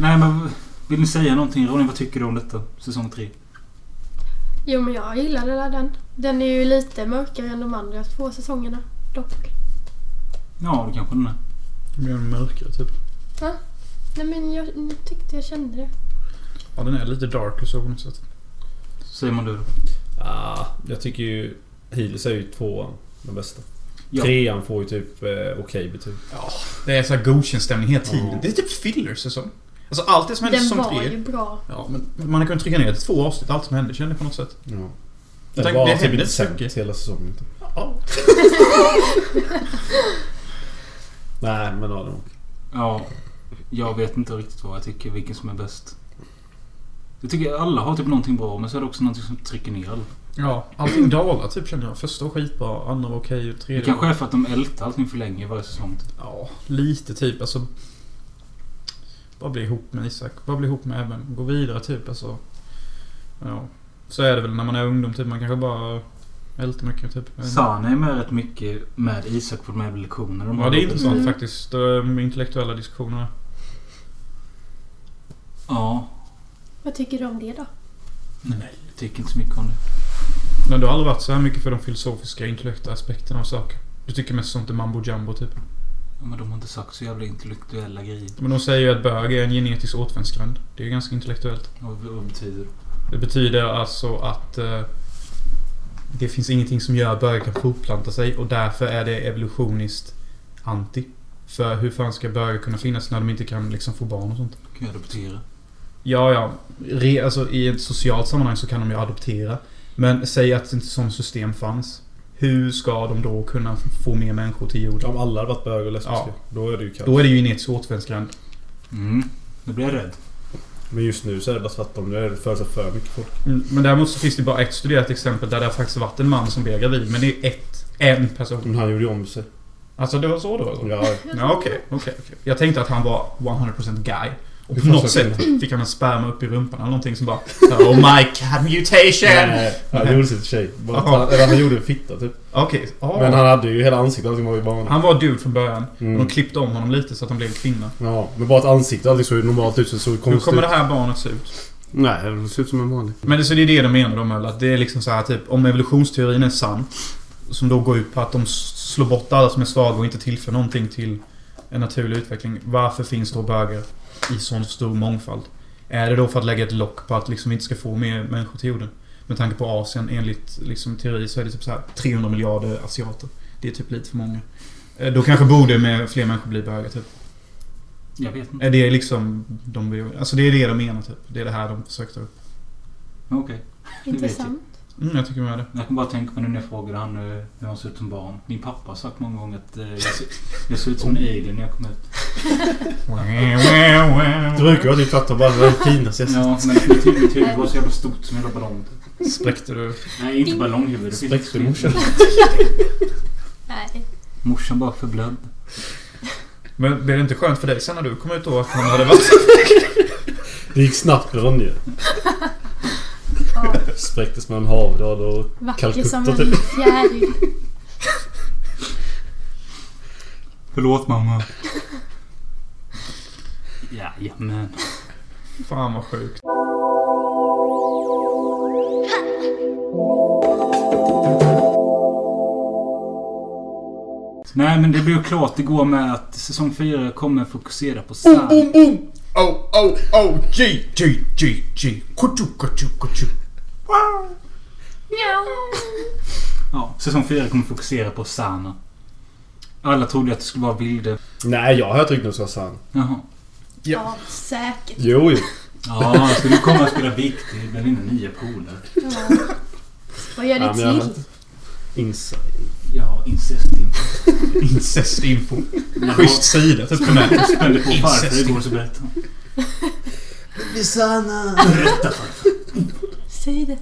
Speaker 2: Nej men vill ni säga någonting Ronny? Vad tycker du om detta? Säsong 3?
Speaker 3: Jo men jag gillade där den. Den är ju lite mörkare än de andra två säsongerna. Dock.
Speaker 2: Ja, det kanske den är.
Speaker 4: Björn Mörkare typ.
Speaker 3: Nej men jag mm, tyckte jag kände det.
Speaker 4: Ja, den är lite dark och så på något sätt.
Speaker 2: Säger man du då?
Speaker 1: <laughs> Ah, jag tycker ju... Healers är ju tvåan. Den bästa.
Speaker 2: Ja.
Speaker 1: Trean får ju typ eh, okej betyg.
Speaker 4: Det är så här godkänd stämning hela tiden.
Speaker 1: Ja.
Speaker 4: Det är typ filler-säsong. Alltså allt det som händer i
Speaker 3: Den
Speaker 4: säsong
Speaker 3: var
Speaker 4: tre.
Speaker 3: ju bra.
Speaker 4: Ja, men man har kunnat trycka ner till två avsnitt allt som hände kände jag på något sätt.
Speaker 1: Ja.
Speaker 4: Jag
Speaker 1: Den
Speaker 4: tänkte,
Speaker 1: var
Speaker 4: det
Speaker 1: typ
Speaker 4: händer
Speaker 1: inte sämst
Speaker 4: mycket.
Speaker 1: hela säsongen. Typ.
Speaker 4: Ja.
Speaker 1: Nej, men ja, det var
Speaker 2: Ja, jag vet inte riktigt vad jag tycker. Vilken som är bäst. Jag tycker alla har typ någonting bra men så är det också någonting som trycker ner alla.
Speaker 4: Ja, allting dalar typ känner jag. Första var skitbra, andra var okej och
Speaker 2: Det
Speaker 4: tredje
Speaker 2: kanske är för att de ältar allting för länge i varje säsong. Typ.
Speaker 4: Ja, lite typ. Alltså... Bara bli ihop med Isak. Bara bli ihop med Evan. Gå vidare typ. Alltså... Ja. Så är det väl när man är ungdom typ. Man kanske bara älter mycket typ. Jag vet inte.
Speaker 2: Sana är med rätt mycket med Isak på de här lektionerna. de
Speaker 4: Ja,
Speaker 2: har.
Speaker 4: det är intressant
Speaker 3: Mm.
Speaker 4: faktiskt. De intellektuella diskussionerna.
Speaker 2: Ja,
Speaker 3: Vad tycker du om det då?
Speaker 2: jag tycker inte så mycket om det.
Speaker 4: Men du har aldrig varit så här mycket för de filosofiska intellektuella aspekterna av saker. Du tycker mest sånt är mambo jumbo typ.
Speaker 2: Ja, men de har inte sagt så jävla intellektuella grejer.
Speaker 4: Men de säger ju att bög är en genetisk återvändsgränd. Det är ju ganska intellektuellt.
Speaker 2: Vad vad betyder det?
Speaker 4: Det betyder alltså att eh, det finns ingenting som gör att bögar kan fortplanta sig och därför är det evolutioniskt anti. För hur fan ska bögar kunna finnas när de inte kan liksom få barn och sånt?
Speaker 2: Kan jag adoptera?
Speaker 4: Ja, ja. Re, alltså, I ett socialt sammanhang så kan de ju adoptera. Men säg att ett sånt system fanns. Hur ska de då kunna få mer människor till jorden?
Speaker 1: Om alla hade varit bög och lesbiska,
Speaker 4: Ja.
Speaker 1: då är det ju kaos.
Speaker 4: Då är det ju genetisk återvändsgränd.
Speaker 2: Mm, nu blir jag rädd.
Speaker 1: Men just nu så är det bara tvärtom. Nu är det för, för mycket folk.
Speaker 4: Mm, Men däremot så finns det bara ett studerat exempel där det har faktiskt varit en man som blev gravid. Men det är ett. En person.
Speaker 1: Men han gjorde ju om sig. eh,
Speaker 4: Alltså det var så då? eller?
Speaker 1: Ja,
Speaker 4: Ja, okej. okej, okej. Jag tänkte att han var 100% guy. Och
Speaker 1: Hur
Speaker 4: på
Speaker 1: fan
Speaker 4: något
Speaker 1: ska jag
Speaker 4: sätt fick han en sperma upp i rumpan eller någonting som bara Oh my god, mutation!
Speaker 1: nej, han gjorde sig till tjej. Bara,
Speaker 4: Jaha.
Speaker 1: han, eller han gjorde en fitta typ.
Speaker 4: Okej, ja.
Speaker 1: Men han hade ju hela ansiktet. Allting var ju bara...
Speaker 4: han var dude från början. Och
Speaker 1: Mm.
Speaker 4: de klippte om honom lite så att han blev kvinna.
Speaker 1: Ja, men bara ett ansikte. Allting såg ju normalt ut. Så det såg
Speaker 4: Hur
Speaker 1: konstigt
Speaker 4: kommer
Speaker 1: ut.
Speaker 4: det här barnet se ut?
Speaker 1: Nej, det ser ut som en vanlig.
Speaker 4: Men det, så det är det de menar de eller? Att det är liksom så här typ om evolutionsteorin är sann. Som då går ut på att de s- slår bort alla som är svaga och inte tillför någonting till en naturlig utveckling. Varför finns då bögar i sån stor mångfald? Är det då för att lägga ett lock på att liksom vi inte ska få mer människor till jorden? Med tanke på Asien enligt liksom, teori så är det typ så här 300 miljarder asiater. Det är typ lite för många. Eh, Då kanske borde med fler människor bli bögar typ.
Speaker 2: Jag vet inte.
Speaker 4: Är det liksom de vill- Alltså det är det de menar typ. Det är det här de försöker ta upp.
Speaker 2: Okej.
Speaker 3: Intressant.
Speaker 4: Mm, jag tycker med det.
Speaker 2: Jag kan bara tänka på nu när jag frågade han eh, hur han ser ut som barn. Min pappa har sagt många gånger att eh, jag, ser, jag ser ut som en alien när jag kom ut.
Speaker 1: Det brukar ju vara typ tvärtom. Bara den finaste jag sett.
Speaker 2: Ja, men mitt huvud, mitt huvud var så jävla stort som en jävla ballong.
Speaker 4: Spräckte du?
Speaker 2: Nej, inte ballonghuvud. Det finns inte
Speaker 1: Spräckte morsan.
Speaker 3: Nej.
Speaker 2: Morsan bara förblödd.
Speaker 4: Men blev det inte skönt för dig sen när du kom ut då att han hade varit...
Speaker 1: Det gick snabbt med Ronja.
Speaker 3: Ja,
Speaker 1: Spräcktes som en havdal och...
Speaker 3: vacker
Speaker 4: <laughs>
Speaker 1: Calcutta,
Speaker 3: som en
Speaker 1: typ.
Speaker 3: fjäril.
Speaker 2: Förlåt mamma. Jajamän.
Speaker 4: Fan vad sjukt.
Speaker 2: Nej men det blev klart igår med att säsong 4 kommer fokusera på Sam.
Speaker 4: boom! Oh, oh, oh! G, G, G, G! Kuchu, kuchu, kuchu!
Speaker 2: Ja, säsong 4 kommer fokusera på Sana. Alla trodde att det skulle vara Vilde.
Speaker 1: Nej, jag har hört rykten som sann.
Speaker 2: Jaha.
Speaker 3: Ja, säkert.
Speaker 1: Jo, jo.
Speaker 2: Ja, han skulle komma och spela viktig bland dina nya polare.
Speaker 3: Ja. Vad gör
Speaker 1: Ja,
Speaker 3: det
Speaker 1: men jag-
Speaker 3: till?
Speaker 1: Inside.
Speaker 2: Ja, incest
Speaker 4: Incestinfo. Schysst sida,
Speaker 2: <laughs>
Speaker 4: typ.
Speaker 2: Jag spände på farfar
Speaker 4: Incest.
Speaker 2: igår så berättade han.
Speaker 1: Sanna!
Speaker 3: Säg det.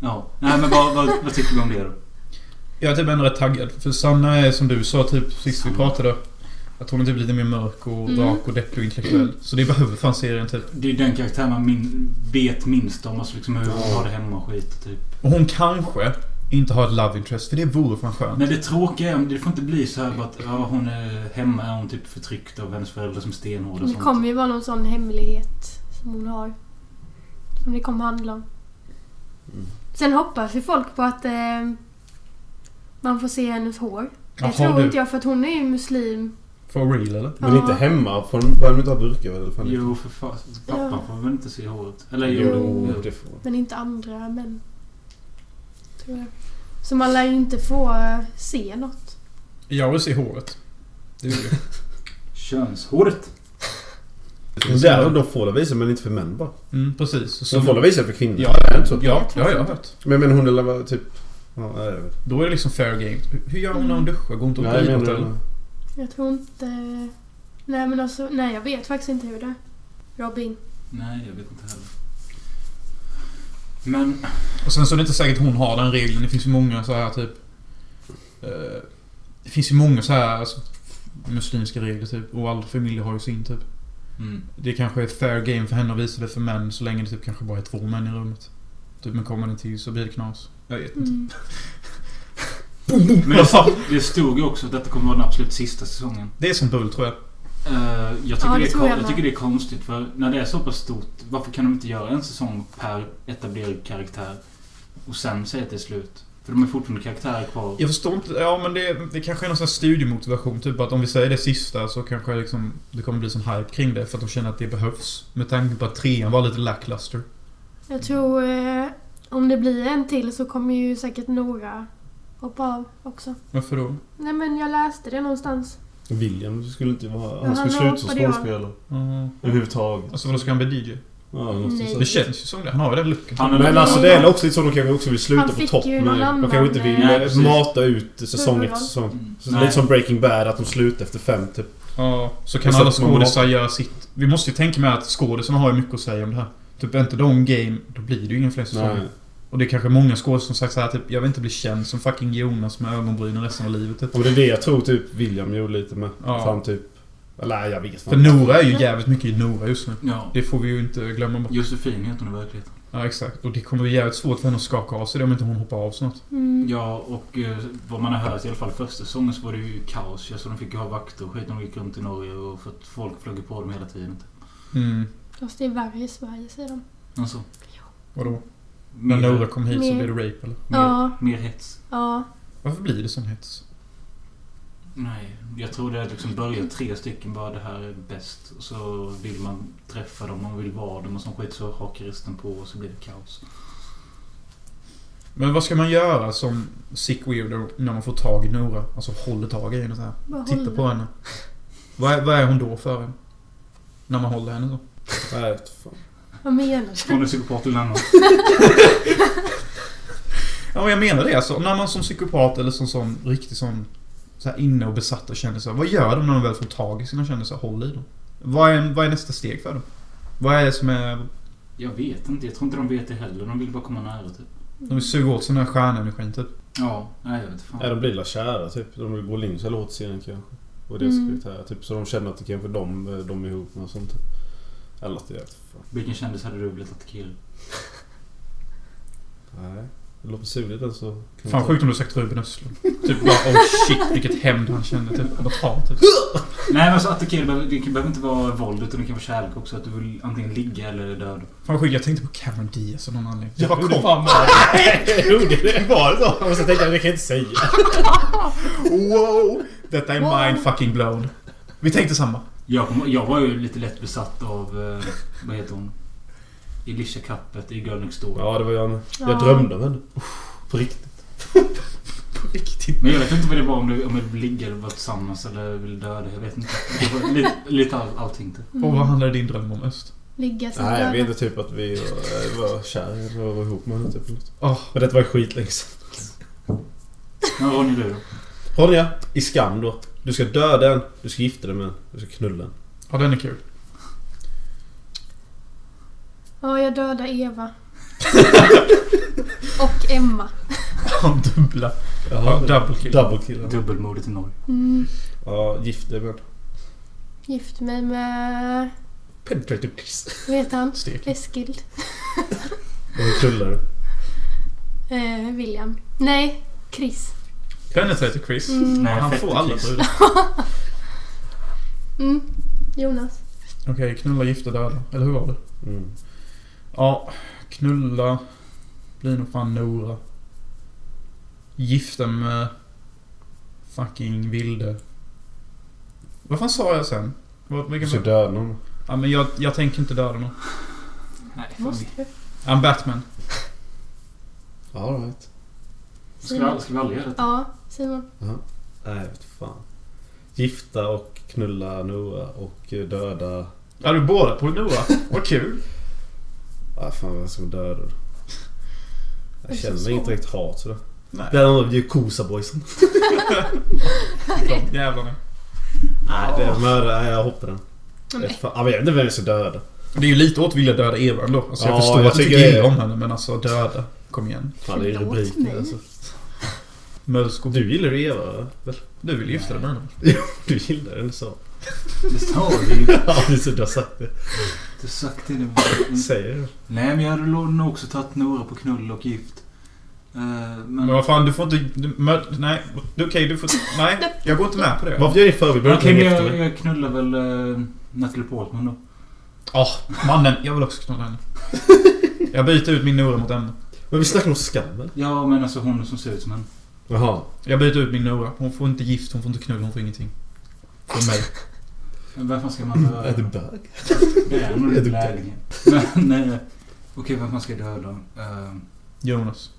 Speaker 2: Ja. Nej men vad, vad, vad tycker vi om det då?
Speaker 4: Jag är typ ändå rätt taggad. För Sanna är som du sa typ sist vi pratade. Att hon är typ lite mer mörk och
Speaker 3: Mm.
Speaker 4: rak och deppig och intellektuell. Så det behöver fan serien typ.
Speaker 2: Det är den karaktären man min, vet minst om. Alltså liksom hur hon har det hemma och skit typ.
Speaker 4: Och hon kanske inte har ett love interest. För det vore fan skönt.
Speaker 2: Men det tråkiga är om det får inte bli så här bara att ja, hon är hemma är hon typ förtryckt av hennes föräldrar som är stenhårda och
Speaker 3: Det
Speaker 2: sånt.
Speaker 3: kommer ju vara någon sån hemlighet som hon har. Som det kommer handla om. Sen hoppas ju folk på att eh, man får se hennes hår. Det
Speaker 4: Jaha,
Speaker 3: tror
Speaker 4: du.
Speaker 3: inte jag för att hon är ju muslim.
Speaker 4: For real eller?
Speaker 1: Men inte hemma. Får de- Bör de inte ha burkar? Eller vad fan?
Speaker 2: Jo, för fan. Pappan
Speaker 3: Ja.
Speaker 2: får väl inte se håret? Eller jo.
Speaker 1: jo.
Speaker 2: jo.
Speaker 1: det får de.
Speaker 3: Men inte andra män. Tror jag. Så man lär ju inte få eh, se något.
Speaker 4: Jag vill se håret. Det vill jag.
Speaker 2: Könshåret.
Speaker 1: Men Där de får de visa men inte för män bara.
Speaker 4: Mm, precis. Så,
Speaker 1: De får de visa för kvinnor.
Speaker 4: Ja,
Speaker 1: Är det
Speaker 4: ja,
Speaker 1: inte så?
Speaker 4: ja, ja, jag har hört.
Speaker 1: Men jag menar hon eller typ... Ja, nej, jag vet.
Speaker 4: Då är det liksom fair game. Hur- Hur gör hon när hon duschar? Går hon inte och
Speaker 1: Nej, jag
Speaker 4: bidrar
Speaker 1: menar...
Speaker 4: eller?
Speaker 3: Jag tror inte... Nej men alltså, nej jag vet faktiskt inte hur det är. Robin.
Speaker 2: Nej, jag vet inte heller. Men...
Speaker 4: Och sen så är det inte säkert hon har den regeln. Det finns ju många så här typ... eh, det finns ju många så här alltså, muslimska regler typ. Och all familj har ju sin typ.
Speaker 2: Mm.
Speaker 4: Det kanske är fair game för henne att visa det för män så länge det typ kanske bara är två män i rummet. Typ men kommer det till så blir det knas. Jag vet inte. alltså,
Speaker 3: Mm.
Speaker 1: Mm.
Speaker 2: Men
Speaker 4: <laughs>
Speaker 2: det, det stod ju också att detta kommer vara den absolut sista säsongen.
Speaker 4: Det är som bull tror jag.
Speaker 2: Eh, jag, tycker
Speaker 3: Ja, det
Speaker 2: det är
Speaker 3: tror
Speaker 2: kon- jag
Speaker 3: jag med.
Speaker 2: tycker det är konstigt för när det är så pass stort, varför kan de inte göra en säsong per etablerad karaktär? Och sen säga att det är slut? För de är fortfarande karaktärer kvar.
Speaker 4: Jag förstår inte. Ja men det, det kanske är någon sån här studiemotivation. Typ att om vi säger det sista så kanske liksom, det kommer bli sån hype kring det. För att de känner att det behövs. Med tanke på att trean var lite lackluster.
Speaker 3: Jag tror eh, om det blir en till så kommer ju säkert några hoppa av också.
Speaker 4: Varför då?
Speaker 3: Nej men jag läste det någonstans.
Speaker 1: William skulle inte vara... Han
Speaker 3: han
Speaker 1: skulle sluta som
Speaker 3: hoppade jag.
Speaker 1: skådespelare.
Speaker 4: Mm.
Speaker 1: Överhuvudtaget.
Speaker 4: Alltså vadå, ska han bli DJ?
Speaker 1: Ja, något
Speaker 3: Nej.
Speaker 1: sånt.
Speaker 4: Det känns ju som det. Han har ju den looken. typ.
Speaker 2: Han är
Speaker 1: Men
Speaker 2: väl-
Speaker 1: alltså det är väl också lite så de kanske också vill sluta
Speaker 3: Han
Speaker 1: på
Speaker 3: fick
Speaker 1: topp.
Speaker 3: ju
Speaker 1: med.
Speaker 3: någon
Speaker 1: De
Speaker 3: annan,
Speaker 1: kanske inte vill
Speaker 2: eh,
Speaker 1: eh,
Speaker 2: precis.
Speaker 1: mata ut säsong efter
Speaker 3: Huvudroll.
Speaker 1: säsong.
Speaker 2: Mm.
Speaker 1: Så
Speaker 2: Nej.
Speaker 1: lite som Breaking Bad, att de slutar efter fem typ.
Speaker 4: Ja, så kan
Speaker 1: Så
Speaker 4: alla
Speaker 1: att man
Speaker 4: skådisar göra sitt. Vi måste ju tänka med att skådisarna har ju mycket att säga om det här. Typ är inte de game, då blir det ju ingen fler säsonger.
Speaker 1: Nej.
Speaker 4: Och det är kanske många skådisar som sagt så här typ, jag vill inte bli känd som fucking Jonas med ögonbrynen resten av livet. Typ.
Speaker 1: Och det är det jag tror typ William gjorde lite med.
Speaker 4: Ja.
Speaker 1: Att han typ... Eller nej, jag vet
Speaker 4: För
Speaker 1: fan.
Speaker 4: Nora är ju jävligt mycket i Nora just nu.
Speaker 2: Ja.
Speaker 4: Det får vi ju inte glömma bort.
Speaker 2: Josefin heter hon i verkligheten.
Speaker 4: Ja, exakt. Och det kommer bli jävligt svårt för henne att skaka av sig det om inte hon hoppar av snart.
Speaker 3: Mm.
Speaker 2: Ja, och eh, vad man har hört i alla fall första säsongen så var det ju kaos. Alltså, de fick ju ha vakter och skit när de gick runt i Norge och för att folk flög på dem hela tiden.
Speaker 4: Mm.
Speaker 3: Fast det är värre i Sverige säger de.
Speaker 2: Alltså,
Speaker 4: Vadå? När
Speaker 2: mer,
Speaker 4: Nora kom hit så
Speaker 3: Mer.
Speaker 4: blir det rape eller?
Speaker 2: mer,
Speaker 3: Ja.
Speaker 2: mer hets.
Speaker 3: Ja.
Speaker 4: Varför blir det sån hets?
Speaker 2: Nej, jag tror det liksom börjar tre stycken bara det här är bäst. Och så vill man träffa dem, man vill vara dem och sån skit så hakar resten på och så blir det kaos.
Speaker 4: Men vad ska man göra som sick weirdo när man får tag i Nora? Alltså håller tag i henne så här.
Speaker 3: Bara
Speaker 4: Titta
Speaker 3: håller.
Speaker 4: på henne. Vad är, vad är hon då för en? När man håller henne så.
Speaker 1: Nej, vet fan.
Speaker 3: Vad menar du?
Speaker 2: Från en psykopat till en annan.
Speaker 4: Ja, men jag menar det alltså. När man som psykopat eller som sån riktig sån... Så här inne och besatt av kändisar. Vad gör de när de väl får tag i sina kändisar? Håll i dem. Vad är, vad är nästa steg för dem? Vad är det som är...
Speaker 2: Jag vet inte, jag tror inte de vet det heller. De vill bara komma nära typ.
Speaker 4: De vill suga åt sig den här stjärnenergin typ.
Speaker 2: Ja, nej jag vet
Speaker 1: Nej,
Speaker 2: fan.
Speaker 1: de blir la kära typ. De vill gå Linds eller åt serien kanske. Och deras
Speaker 3: Mm.
Speaker 1: karaktär. Typ, så de känner att det kanske är de, eh, de är ihop med och sånt. typ. Eller att det är... Fan.
Speaker 2: Vilken kändis hade du blivit attackerad?
Speaker 1: Nej. låter surligt än så... kan
Speaker 4: Fan
Speaker 1: jag <laughs>
Speaker 4: sjukt om du sagt Ruben Östlund. Typ bara oh shit vilket hämnd han kände. Typ vad hat. Typ.
Speaker 2: Nej men så attackera behöver, det behöver inte vara våld utan det kan vara kärlek också. Att du vill antingen ligga eller döda.
Speaker 4: Fan vad sjukt jag tänkte på Cameron Diaz av någon anledning. Jag bara
Speaker 1: gjorde
Speaker 4: kom.
Speaker 1: fan med det. Jag gjorde det. Var det så? Och så tänkte jag, det kan jag inte säga.
Speaker 4: Wow! Detta är
Speaker 3: Wow.
Speaker 4: mind fucking blown. Vi tänkte samma.
Speaker 2: Jag, kom- jag var ju lite lätt besatt av... Eh, vad heter hon? Elisha Kappet i Girl Next Door.
Speaker 1: Ja, det var jag med. Jag
Speaker 3: Ja.
Speaker 1: drömde om henne. På riktigt.
Speaker 2: Men jag vet inte vad det var om du, om du vill ligga eller vara tillsammans eller vill döda. Jag vet inte. Det var lite, lite all, allting typ.
Speaker 4: Och vad handlade din dröm om Öst?
Speaker 3: Mm. Ligga sig
Speaker 1: Nej, jag
Speaker 3: döda.
Speaker 1: vet typ att vi var, var kära. Jag var ihop med henne typ.
Speaker 4: Åh.
Speaker 1: Men detta var ju skitlänge sedan.
Speaker 2: Men Ronny du då?
Speaker 1: Ronja, i skam då. Du ska döda den, du ska gifta dig med den, du ska knulla den.
Speaker 4: Ja den är kul.
Speaker 3: Ja, jag dödar Eva. Och Emma.
Speaker 4: Han dubbla. Ja, double kill.
Speaker 1: Double kill. ja.
Speaker 2: Dubbelmordet i Norge.
Speaker 3: Mm.
Speaker 1: Ja, gift dig med den.
Speaker 3: Gift mig med...
Speaker 1: Penetrative kiss.
Speaker 3: Vad heter han?
Speaker 4: Stek.
Speaker 3: Eskild.
Speaker 1: Och knulla den.
Speaker 3: Eh, William. Nej, Chris.
Speaker 4: Penetrator Chris.
Speaker 3: Mm.
Speaker 2: Nej,
Speaker 4: Han
Speaker 2: fett
Speaker 4: får alla
Speaker 2: kiss.
Speaker 4: brudar.
Speaker 3: Mm. Jonas.
Speaker 4: Okej, knulla, gifta, döda. Eller hur var det?
Speaker 1: Mm.
Speaker 4: Ja, knulla. Blir nog fan Nora. Gifta med... Fucking Vilde. Vad fan sa jag sen? Vad-
Speaker 1: Du
Speaker 4: vilken-
Speaker 1: ska döda någon.
Speaker 4: Ja, men jag, jag tänker inte döda någon.
Speaker 2: Nej, fan.
Speaker 3: Måste du?
Speaker 4: I'm Batman.
Speaker 1: All right.
Speaker 2: Ska vi, all- ska vi aldrig göra detta?
Speaker 3: Ja, Simon.
Speaker 1: Nej, jag vet fan. Gifta och knulla Nora och eh, döda...
Speaker 4: Ja, du är båda på Nora. Vad kul.
Speaker 1: Ah, fan vem som döda då?
Speaker 3: Det är
Speaker 1: Jag
Speaker 3: så
Speaker 1: känner
Speaker 3: svårt.
Speaker 1: inget direkt hat sådär.
Speaker 4: Nej.
Speaker 1: Det är Yakuza-boysen.
Speaker 4: De jävlarna.
Speaker 1: Nej, det är mördare. Nej, jag hoppar den.
Speaker 3: Ja,
Speaker 1: Jag
Speaker 3: men-
Speaker 1: vet fan- Ja, men jag vet inte vem jag ska döda.
Speaker 4: Det är ju lite åt vilja döda Eva ändå. Alltså, jag
Speaker 1: Ja,
Speaker 4: förstår
Speaker 1: jag
Speaker 4: att du
Speaker 1: tycker
Speaker 4: tycker
Speaker 1: det.
Speaker 4: illa om henne, men alltså döda. Kom igen.
Speaker 1: Fan, det är ju
Speaker 3: Förlåt
Speaker 1: rubriken
Speaker 3: mig.
Speaker 1: alltså.
Speaker 4: Mölsko. Du,
Speaker 1: Du gillar ju Eva, väl?
Speaker 4: du vill gifta dig med henne.
Speaker 1: Du gillar den så.
Speaker 2: Det sa vi ju.
Speaker 1: Ja, det är så du har sagt det.
Speaker 2: Du har sagt det nu.
Speaker 1: Säger du?
Speaker 2: Nej, men jag hade nog också tagit Nora på knull och gift. Eh, men...
Speaker 4: Men vad fan, du får inte... Du, mö- nej, du- okej, du får... Nej, jag går inte med på det.
Speaker 1: Varför gör ni förbild? Behöver
Speaker 2: Okej,
Speaker 1: inte
Speaker 2: men
Speaker 1: gifta
Speaker 2: jag,
Speaker 1: mig?
Speaker 2: jag knullar väl uh, Natalie Portman då.
Speaker 4: Ja, mannen. Jag vill också knulla henne.
Speaker 1: <laughs>
Speaker 4: Jag byter ut min Nora mot Emma.
Speaker 1: Men vi snackar om skammen.
Speaker 2: Ja, men alltså hon som ser ut som henne.
Speaker 1: Jaha.
Speaker 4: Jag byter ut min Nora. Hon får inte gift, hon får inte knull, hon får ingenting. Från mig.
Speaker 2: Men Vem fan ska man döda?
Speaker 1: Är du bög?
Speaker 2: Det är nog
Speaker 1: är
Speaker 2: lite
Speaker 1: du-
Speaker 2: lägenhet. Men nej. Okej, vem fan ska jag döda? Eh,
Speaker 4: Jonas.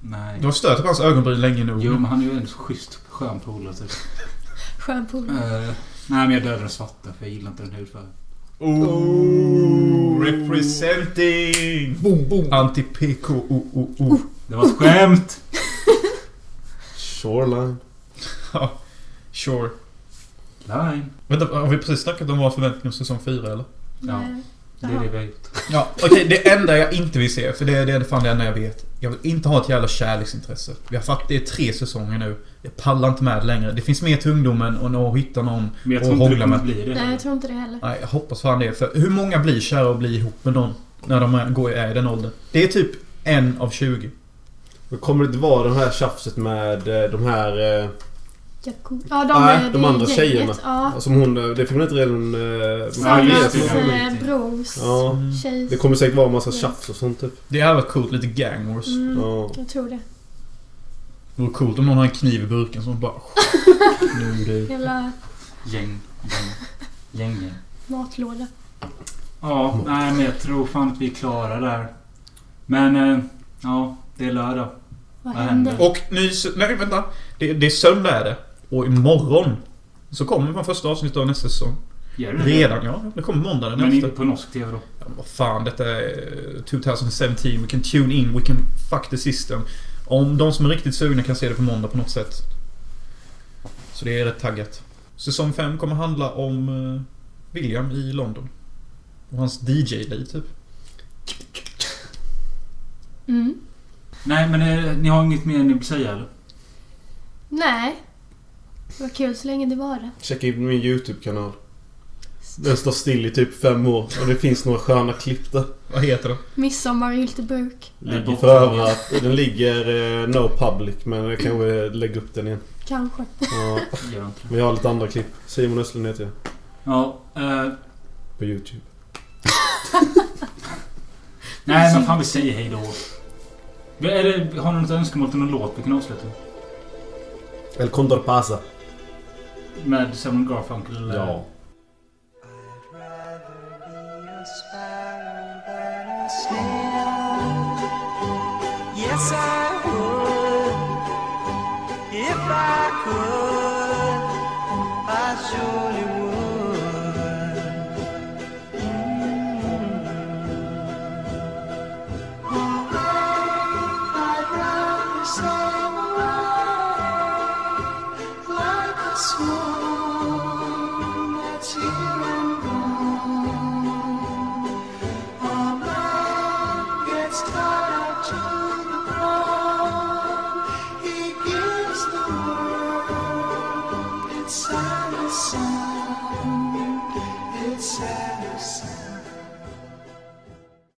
Speaker 2: nej.
Speaker 4: Du har stört på hans ögonbryn länge nog.
Speaker 2: Jo, men han är ju en schysst skön polare typ.
Speaker 3: Skön polare.
Speaker 2: Eh, nej, men jag dödar den svarta för jag gillar inte den hudfärgen.
Speaker 4: Oh, representing!
Speaker 1: Boom, boom.
Speaker 4: Anti-PK, oh, oh, oh.
Speaker 2: Det var ett skämt!
Speaker 1: Shoreline.
Speaker 4: Ja, sure.
Speaker 2: Line.
Speaker 4: Vänta, har vi precis snackat om våra förväntningar om säsong 4 eller?
Speaker 2: Ja.
Speaker 3: Nej.
Speaker 2: Det är
Speaker 3: Jaha.
Speaker 2: det vi har gjort.
Speaker 4: Ja, okej. det enda jag inte vill se, för det, det är det fan det enda jag vet. Jag vill inte ha ett jävla kärleksintresse. Vi har fattat det är tre säsonger nu. Jag pallar inte med det längre. Det finns mer till ungdomen och nå- att hitta någon.
Speaker 2: Men jag
Speaker 4: Och
Speaker 2: tror inte det
Speaker 4: hångla
Speaker 2: kommer
Speaker 4: med.
Speaker 2: bli det.
Speaker 3: Nej, jag tror inte det heller.
Speaker 4: Nej, jag hoppas fan det. För hur många blir kära och blir ihop med någon när de är, går, är i den åldern? Det är typ en av 20.
Speaker 1: Men kommer det inte vara det här tjafset med eh, de här... Eh,
Speaker 3: Jaku- Ja, de,
Speaker 1: Nej,
Speaker 3: är
Speaker 1: de
Speaker 3: det
Speaker 1: andra
Speaker 3: gänget.
Speaker 1: tjejerna.
Speaker 3: Ja.
Speaker 1: som hon... eh, Det fick man inte redan... Eh,
Speaker 2: Ja, just
Speaker 3: Sannas
Speaker 2: det.
Speaker 1: ja,
Speaker 3: eh, brors
Speaker 1: ja.
Speaker 3: tjej.
Speaker 1: Det kommer säkert vara en massa tjafs och sånt typ.
Speaker 4: Det hade varit coolt. Lite gang wars.
Speaker 3: Mm,
Speaker 1: Ja.
Speaker 3: jag tror det.
Speaker 4: Det vore coolt om någon har en kniv i burken som bara...
Speaker 2: Mm.
Speaker 1: Mm,
Speaker 4: Nu du.
Speaker 3: Hela
Speaker 2: Gäng, gäng, gäng, gäng.
Speaker 3: matlåda.
Speaker 4: Mm.
Speaker 2: Ja, nej men jag tror fan att vi är klara där. Men, eh, ja, det är lördag.
Speaker 3: Vad
Speaker 2: Vad
Speaker 3: händer?
Speaker 2: händer?
Speaker 4: Och ny... sö- Nej, vänta. Det, det är söndag är det. Och imorgon så kommer man första avsnittet av nästa säsong.
Speaker 2: Gör du det?
Speaker 4: Redan ja. Det kommer måndag den
Speaker 2: Men inte
Speaker 4: efter.
Speaker 2: på norsk TV då.
Speaker 4: Ja, vad fan, detta är eh, 2017. We can tune in, we can fuck the system. Om de som är riktigt sugna kan se det på måndag på något sätt. Så det är rätt taggat. Säsong 5 kommer handla om eh, William i London. Och hans DJ-liv typ.
Speaker 3: Mm.
Speaker 2: Nej, men eh, ni har inget mer ni vill säga eller?
Speaker 3: Nej. Vad kul så länge det var det.
Speaker 1: Checka in min YouTube-kanal. Den står still i typ fem år och det finns några sköna klipp där.
Speaker 4: Vad heter den?
Speaker 3: Midsommar i Hyltebruk.
Speaker 1: Ligger för övrigt. Den ligger eh, no public men jag kanske lägger upp den igen.
Speaker 3: Kanske.
Speaker 1: Ja,
Speaker 2: Gör inte det.
Speaker 1: vi har lite andra klipp. Simon Östlund heter jag.
Speaker 2: Ja, eh,
Speaker 1: På YouTube.
Speaker 2: nej men fan vi säger hej då. Är det, har ni något önskemål till någon låt vi kan avsluta med?
Speaker 1: El Condor Pasa.
Speaker 2: Med Simon Garfunkel eh, eller?
Speaker 1: Ja.
Speaker 6: I'd rather be a sparrow than a snail. Yes, I would. If I could, I surely would. Mm. I'd rather sail away like a swan that's here and gone. A man gets tied to the ground. He gives the world its saddest song. It's sad.